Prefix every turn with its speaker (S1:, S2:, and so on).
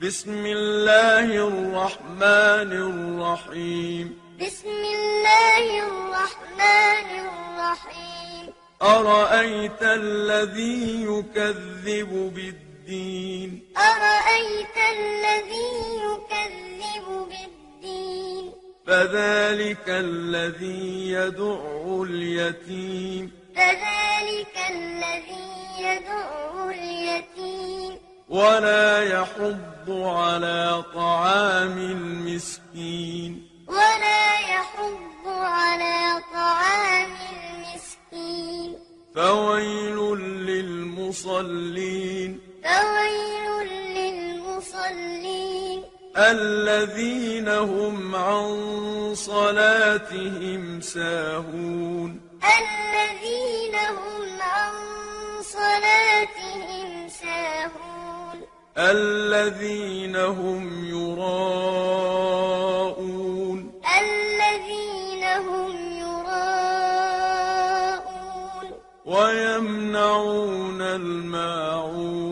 S1: بسم الله الرحمن الرحيم
S2: بسم الله الرحمن الرحيم
S1: أرأيت الذي يكذب بالدين
S2: أرأيت الذي يكذب بالدين
S1: فذلك الذي يدع اليتيم
S2: فذلك الذي يدعو اليتيم
S1: ولا يحض على طعام المسكين
S2: ولا يحض على طعام المسكين
S1: فويل للمصلين
S2: فويل للمصلين
S1: الذين هم عن صلاتهم ساهون
S2: الذين هم عن صلاتهم ساهون
S1: الذين هم يراءون
S2: الذين هم يراءون
S1: ويمنعون الماعون